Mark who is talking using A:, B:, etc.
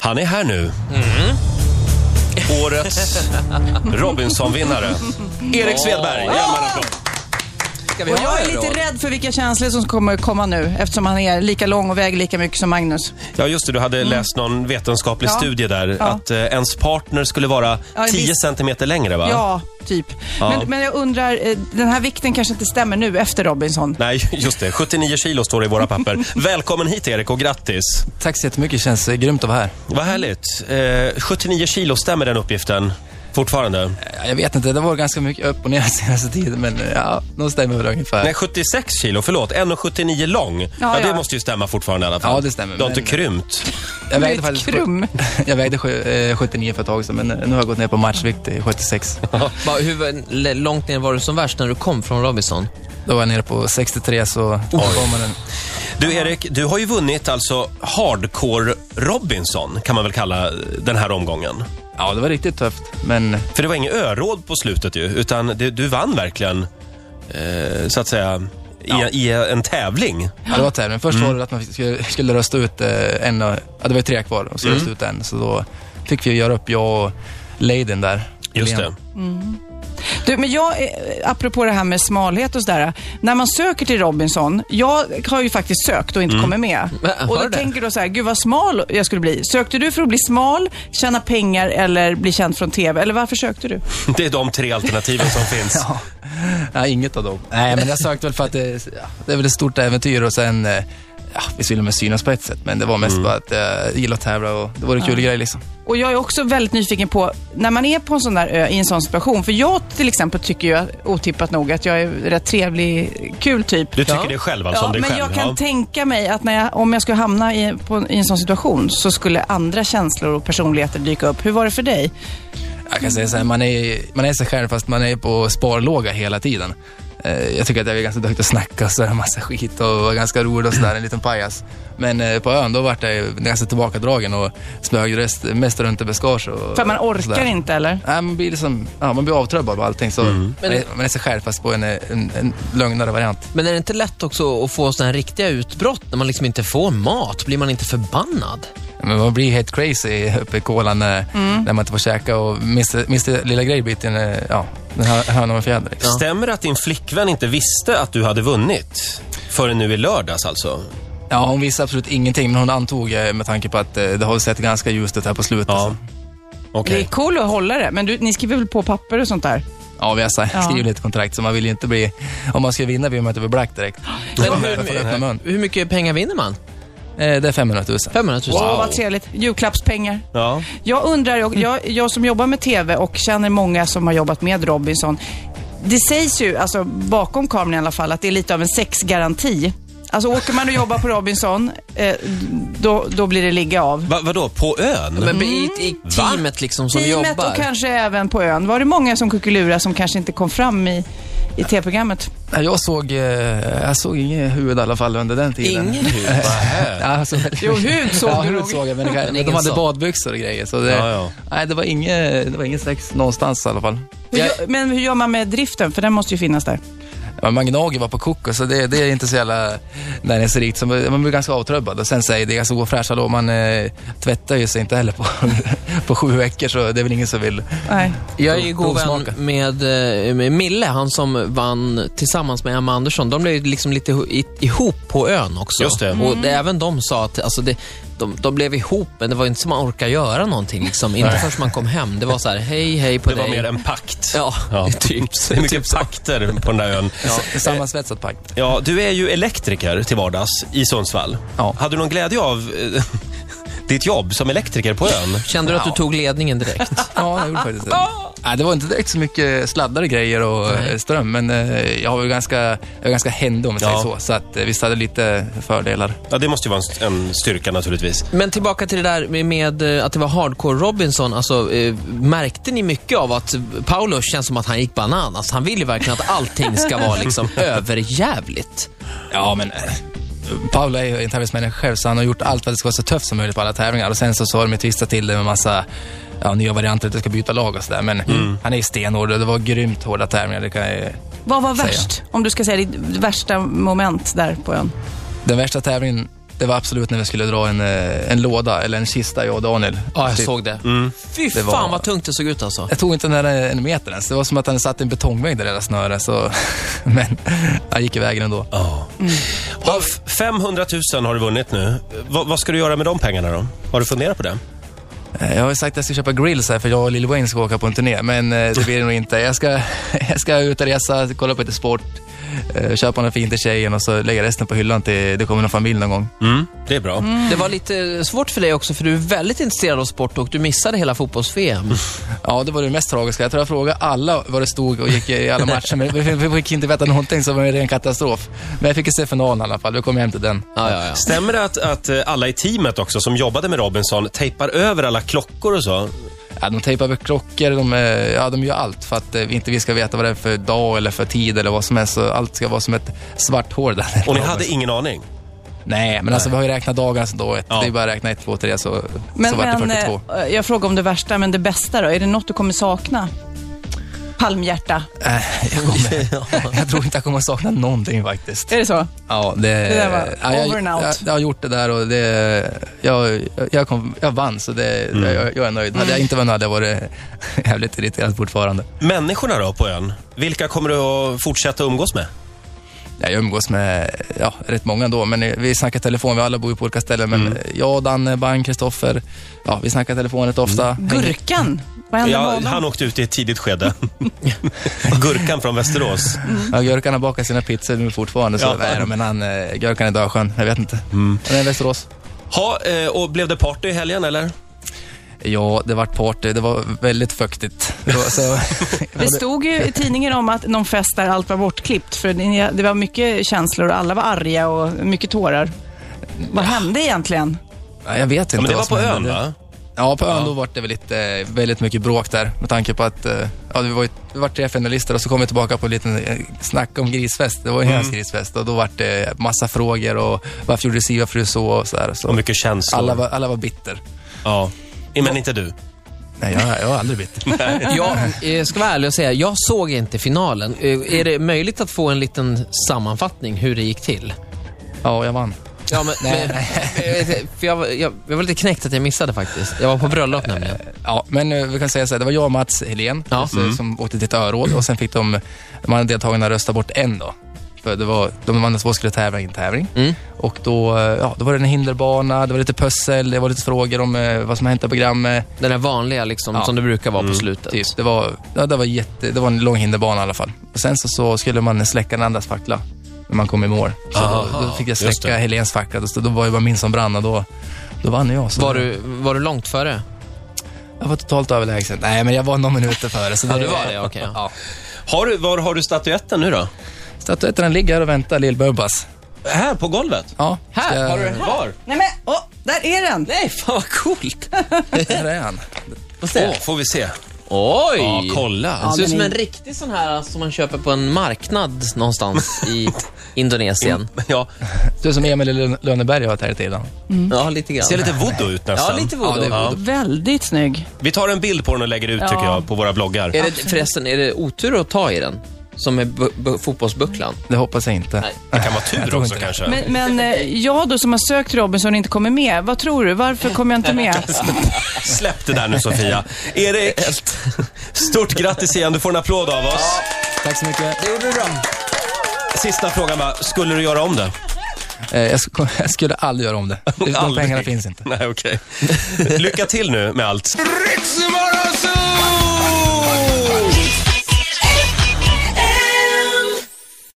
A: Han är här nu. Mm. Årets Robinson-vinnare. Erik Svedberg. Ja, men applåd.
B: Ska vi
C: Och
B: ha
C: jag är
B: det då?
C: lite rädd för vilka känslor som kommer komma nu eftersom han är lika lång och väger lika mycket som Magnus.
A: Ja, just det. Du hade läst någon vetenskaplig
C: Ja.
A: studie där.
C: Ja.
A: Att eh, ens partner skulle vara
C: Ja, en
A: 10
C: viss-
A: centimeter längre, va?
C: Ja, typ. Men, men jag undrar, eh, den här vikten kanske inte stämmer nu efter Robinson.
A: Nej, just det. 79 kilo står det i våra papper. Välkommen hit, Erik, och grattis.
B: Tack så jättemycket, känns eh, grymt att vara här.
A: Vad härligt. Eh, 79 kilo, stämmer den uppgiften? Fortfarande?
B: Ja, Jag vet inte, det var ganska mycket upp och ner senaste tiden, men eh, ja, nog stämmer väl ungefär.
A: Nej, 76 kilo, förlåt. 1,79 lång. Ja, det
C: ja.
A: måste ju stämma fortfarande i alla fall.
B: Ja, det stämmer,
A: Du har
B: men-
A: inte krympt.
B: jag
C: du är ett krum.
B: jag vägde sju, eh, 79 för ett tag sedan, men eh, nu har jag gått ner på matchvikt till 76.
D: Va, hur l- långt ner var du som värst när du kom från Robinson?
B: Då var jag nere på 63, så då var man en...
A: Du Erik, du har ju vunnit alltså Hardcore Robinson, kan man väl kalla den här omgången.
B: Ja, det var riktigt tufft, men
A: För det var inget öråd på slutet ju, utan det, du vann verkligen, eh, så att säga, i, i en tävling.
B: ja, det var
A: Mm.
B: tävling. Först var det att man fick- skulle, skulle rösta ut eh, en, och- ja, det var ju tre kvar, och så
A: Mm.
B: rösta ut en, så då fick vi göra upp, jag och Leiden där.
A: Just
B: Helena.
A: det.
C: Du, men jag, eh, apropå det här med smalhet och sådär. När man söker till Robinson, jag har ju faktiskt sökt och inte kommit med.
D: Men, har
C: och då
D: du det?
C: tänker du så här, gud vad smal jag skulle bli. Sökte du för att bli smal, tjäna pengar eller bli känd från TV? Eller varför sökte du?
A: Det är de tre alternativen som finns.
B: Nej, inget av dem. Nej, men jag sökte väl för att det, ja, det är väl ett stort äventyr och sen, eh, ja, vi skulle med synas på ett sätt, men det var mest bara att eh, jag gillar att tävla och det var en kul grej liksom.
C: Och jag är också väldigt nyfiken på, när man är på en sån där ö i en sån situation, för jag till exempel tycker ju otippat nog att jag är rätt trevlig, kul typ.
A: Du tycker
D: Ja.
A: det själv alltså, om dig
C: men
A: själv?
C: jag kan
A: ja.
C: tänka mig att när jag, om jag skulle hamna i, på, i en sån situation så skulle andra känslor och personligheter dyka upp. Hur var det för dig?
B: Jag kan säga så här, man är, man är sig själv fast man är på sparlåga hela tiden. Eh, jag tycker att jag är ganska duktig att snacka och så är det en massa skit och var ganska rolig och sådär, en liten pajas. Men eh, på ön, då vart jag ju ganska tillbakadragen och spögröst mest runt i buskage och
C: För att man orkar
B: sådär.
C: inte eller?
B: Nej, man blir liksom, ja, man blir avtrubbad på allting så man, är, man är sig själv fast på en, eh, en, en lugnare variant.
D: Men är det inte lätt också att få sådana här riktiga utbrott när man liksom inte får mat? Blir man inte förbannad?
B: Men man blir helt crazy uppe i kolan när, när man inte får käka och mister, mister lilla grejbiten, eh, ja, den här hönan med fjäder. liksom.
A: Stämmer det att din flickvän inte visste att du hade vunnit? Förrän nu i lördags alltså?
B: Ja, hon visste absolut ingenting, men hon antog eh, med tanke på att eh, det har sett ganska ljust ut här på slutet.
A: Ja.
B: Ja,
A: Okej.
C: Det är cool att hålla det, men du, ni skriver väl på papper och sånt där?
B: ja vi har sa-
C: Ja.
B: skrivit ett kontrakt, så man vill ju inte bli... Om man ska vinna vill man inte bli black direkt.
D: Men
B: Jag får öppna mun.
D: hur, hur mycket pengar vinner man?
B: Eh, Det är 500 000.
D: 500 000?
C: Åh, vad trevligt. Julklappspengar.
A: Ja.
C: Jag undrar, jag, jag, jag som jobbar med TV och känner många som har jobbat med Robinson. Det sägs ju, alltså bakom kameran i alla fall, att det är lite av en sexgaranti. Alltså åker man och jobbar på Robinson, eh, då, då blir det ligga av.
A: Va, vadå, på ön?
D: Men i, i teamet liksom som
C: Mm. Teamet
D: jobbar?
C: och kanske även på ön. Var det många som kuckelura som kanske inte kom fram i, i TV-programmet?
B: Ja, Jag såg, eh, jag såg inget huvud i alla fall under den tiden.
D: Ingen hud?
B: Ja, så,
C: Jo, hud såg
B: ja,
C: du
B: hud
C: nog.
B: såg jag, men,
D: Men
B: men de
D: ingen
B: hade
D: såg.
B: badbyxor och grejer. Så det,
A: Ja, ja.
B: Nej, det var inget, det var ingen sex någonstans i alla fall.
C: Hur, gör- Men hur gör man med driften? För den måste ju finnas där.
B: Ja, man gnager bara på kokos, så det, det är inte så jävla näringsrikt. Så man man blir ganska avtrubbad. Och sen säger det är ganska ofräscha då. Man eh, tvättar ju sig inte heller på, på sju veckor, så det är väl ingen som vill.
C: Nej.
D: Jag är ju god vän
B: Provsmaka.
D: med, eh, med Mille, han som vann tillsammans med Emma Andersson. De blev ju liksom lite iho- i- ihop på ön också.
A: Just det.
D: Och det, även de sa att alltså det, de, de blev ihop, men det var ju inte som man orkade göra någonting. Liksom. Inte förrän man kom hem. Det var så här, hej, hej på
A: det
D: dig.
A: var mer en pakt.
D: Ja, typ.
A: Det är mycket pakter på den där ön. Ja.
B: Ja. Sammansvetsat pakt.
A: Ja, du är ju elektriker till vardags i Sundsvall.
B: Ja.
A: Hade du någon glädje av eh, ditt jobb som elektriker på ön?
D: Kände du att du tog ledningen direkt?
B: Ja, jag gjorde faktiskt det. Nej, det var inte direkt så mycket sladdar och grejer och eh, ström, men eh, jag var ju ganska, jag var ganska händig om vi säger
A: Ja.
B: så. Så att, eh, visst hade lite fördelar.
A: Ja, det måste ju vara en, en styrka naturligtvis.
D: Men tillbaka till det där med, med eh, att det var hardcore Robinson. Alltså, eh, märkte ni mycket av att Paulus känns som att han gick bananas? Han vill ju verkligen att allting ska vara liksom överjävligt.
B: Ja, men... eh, Paula är ju en tävlingsmänniska själv, så han har gjort allt för att det ska vara så tufft som möjligt på alla tävlingar. Och sen så har de ju twistat till det med massa ja, nya varianter, att du ska byta lag och sådär. Men
D: Mm.
B: han är ju stenhård och det var grymt hårda tävlingar. Det kan jag...
C: Vad var värst? Om du ska säga ditt värsta moment där på ön.
B: Den värsta tävlingen Det var absolut när vi skulle dra en, eh, en låda, eller en kista, jag och Daniel.
D: Ja, jag
B: Typ.
D: såg det. Fy
B: Det
D: fan
B: var-
D: vad tungt det såg ut alltså.
B: Jag tog inte nära en meter ens. Det var som att han satt i en betongvägg där hela snöret. Så... Men han gick i vägen ändå.
A: Ja.
D: Mm.
A: Ja, f- 500 000 har du vunnit nu. Va, vad ska du göra med de pengarna då? Har du funderat på det?
B: Eh, Jag har ju sagt att jag ska köpa grills här för jag och Lil Wayne ska åka på en turné. Men eh, det blir det nog inte. Jag ska, jag ska ut och resa, kolla på lite sport, eh, köpa något fint till tjejen och så lägga resten på hyllan till det kommer någon familj någon gång.
A: Mm, det är bra.
D: Det var lite svårt för dig också för du är väldigt intresserad av sport och du missade hela fotbolls-VM.
B: Ja, det var det mest tragiska. Jag tror jag frågade alla vad det stod och gick i alla matcher. Men vi- vi fick inte veta någonting så det var en ren katastrof. Men jag fick ju se finalen i alla fall. Vi kom hem till den.
D: Ja, ja, ja.
A: Stämmer det att, att eh, alla i teamet också som jobbade med Robinson tejpar över alla klockor och så?
B: Ja, de tejpar väl klockor, de, eh, ja, de gör allt för att eh, vi inte vi ska veta vad det är för dag eller för tid eller vad som helst. Så Allt ska vara som ett svart hål där.
A: Och ni hade ingen aning?
B: Nej, men alltså vi har ju räknat dagarna som då. Ett,
A: Ja.
B: Det är bara att räkna ett, två, tre så,
C: Men,
B: så vart det
C: men,
B: 42.
C: eh, jag frågar om det värsta, men det bästa då? Är det något du kommer sakna? Palmhjärta,
B: Eh, jag, kommer, jag tror inte jag kommer sakna någonting faktiskt.
C: är det så?
B: Ja, det,
C: Det där var
B: ja, jag,
C: over and out.
B: Jag, jag har gjort det där och det, jag, jag, kom, jag vann så det, jag, jag är nöjd. Hade jag inte varit nöjd hade jag varit jävligt irriterad fortfarande.
A: Människorna då på ön? Vilka kommer du att fortsätta umgås med?
B: Jag umgås med ja, rätt många ändå, men eh, vi snackar telefon. Vi alla bor ju på olika ställen, men eh, jag, Danne, Bang, Kristoffer, ja, vi snackar telefon rätt ofta.
C: Gurkan, vad händer med
A: Ja,
C: honom?
A: han åkte ut i ett tidigt skede. Gurkan från Västerås.
B: Ja, Görkan har bakat sina pizzor nu fortfarande, så
A: Ja.
B: nej, då, men han, eh, Görkan är dödskön. Jag vet inte. Han är i Västerås.
A: Ha, eh, och blev det party i helgen eller?
B: Ja, det vart party. Det var väldigt fuktigt. Det var, så,
C: Det stod ju i tidningen om att någon fest där allt var bortklippt, för det- det var mycket känslor och alla var arga och mycket tårar. Vad hände egentligen?
B: Ja, jag vet inte.
A: Men det var
B: vad som
A: på ön
B: hände.
A: va?
B: Ja, på ön då vart det väl lite, eh, väldigt mycket bråk där med tanke på att eh, ja, vi, var, ju- vi var tre finalister och så kom vi tillbaka på en liten eh, snack om grisfest. Det var ju en grisfest och då vart det massa frågor och varför gjorde du si, varför gjorde du så och så där.
A: Och
B: Så
A: mycket känslor.
B: alla, var, alla var bitter.
A: Ja. Men inte du.
B: Nej, jag, jag är aldrig bitter.
D: Jag eh, ska vara ärlig och säga, jag såg inte finalen. Eh, Är det möjligt att få en liten sammanfattning hur det gick till?
B: Ja, jag vann.
D: Ja, men,
B: Nej.
D: men, eh, för jag, var- jag, jag var lite knäckt att jag missade faktiskt. Jag var på bröllop nämligen.
B: Ja, men eh, vi kan säga så här, det var jag och Mats Helén
D: Ja. Mm.
B: så- som åkte till ett öråd och sen fick de, de andra deltagarna rösta bort en då. För det var, de andra två skulle tävla i en tävling.
D: Mm.
B: Och då, eh, ja, då var det en hinderbana, det var lite pussel, det var lite frågor om eh, vad som har hänt i programmet.
D: Den där vanliga liksom,
B: Ja.
D: som det brukar vara på slutet.
B: Typ. Det, var, ja, det, var jätte, det var en lång hinderbana i alla fall. Och sen så, så skulle man släcka den andras fackla när man kom i mål. Så
A: Aha,
B: då, då fick jag
A: just det.
B: släcka Helens fackla, då, då var det bara min som brann och då, då vann jag. Så
D: Var du, var du långt före?
B: Jag var totalt överlägsen. Nej, men jag var några minuter före. Så
D: Ja, du var det, okej.
B: Ja.
A: Har du, var har du statyetten nu då?
B: Statyetten ligger här och väntar, Lill-Bubbas.
A: Här på golvet?
B: Ja,
D: Här?
B: ska-
D: Har du den
A: Var?
C: Nej men, åh, där är den!
D: Nej, fan vad coolt!
B: Här är han.
A: Åh, får vi se.
D: Oj!
A: Ja, kolla.
D: Det ser ut
C: men
D: som
C: i-
D: en riktig sån här som man köper på en marknad någonstans i Indonesien.
A: Ja,
B: Du är som Emil i Lön- Lönneberga har varit här i tiden.
D: Ja, lite grann.
A: ser lite voodoo ut
D: Ja,
A: nästan.
D: lite voodoo.
B: Ja, det är
D: Ja.
C: Väldigt snygg.
A: Vi tar en bild på den och lägger ut tycker
C: Ja.
A: jag på våra bloggar.
D: Är det, förresten, är det otur att ta i den? Som är bu- bu- fotbollsbucklan?
B: Det hoppas jag inte.
D: Nej.
A: Det kan vara tur
B: Jag tror
A: också
B: inte det.
A: kanske.
C: Men, men eh, jag då som har sökt Robinson och inte kommer med, vad tror du? Varför kommer jag inte med?
A: Släpp det där nu Sofia. Erik, stort grattis igen. Du får en applåd av oss.
B: Tack så mycket.
D: Det gjorde du bra.
A: Sista frågan bara, skulle du göra om det?
B: Eh, jag, sk- jag skulle aldrig göra om det. De
A: Aldrig.
B: pengarna finns inte.
A: Nej, okej. Lycka till nu med allt.
E: Ritzemorgon!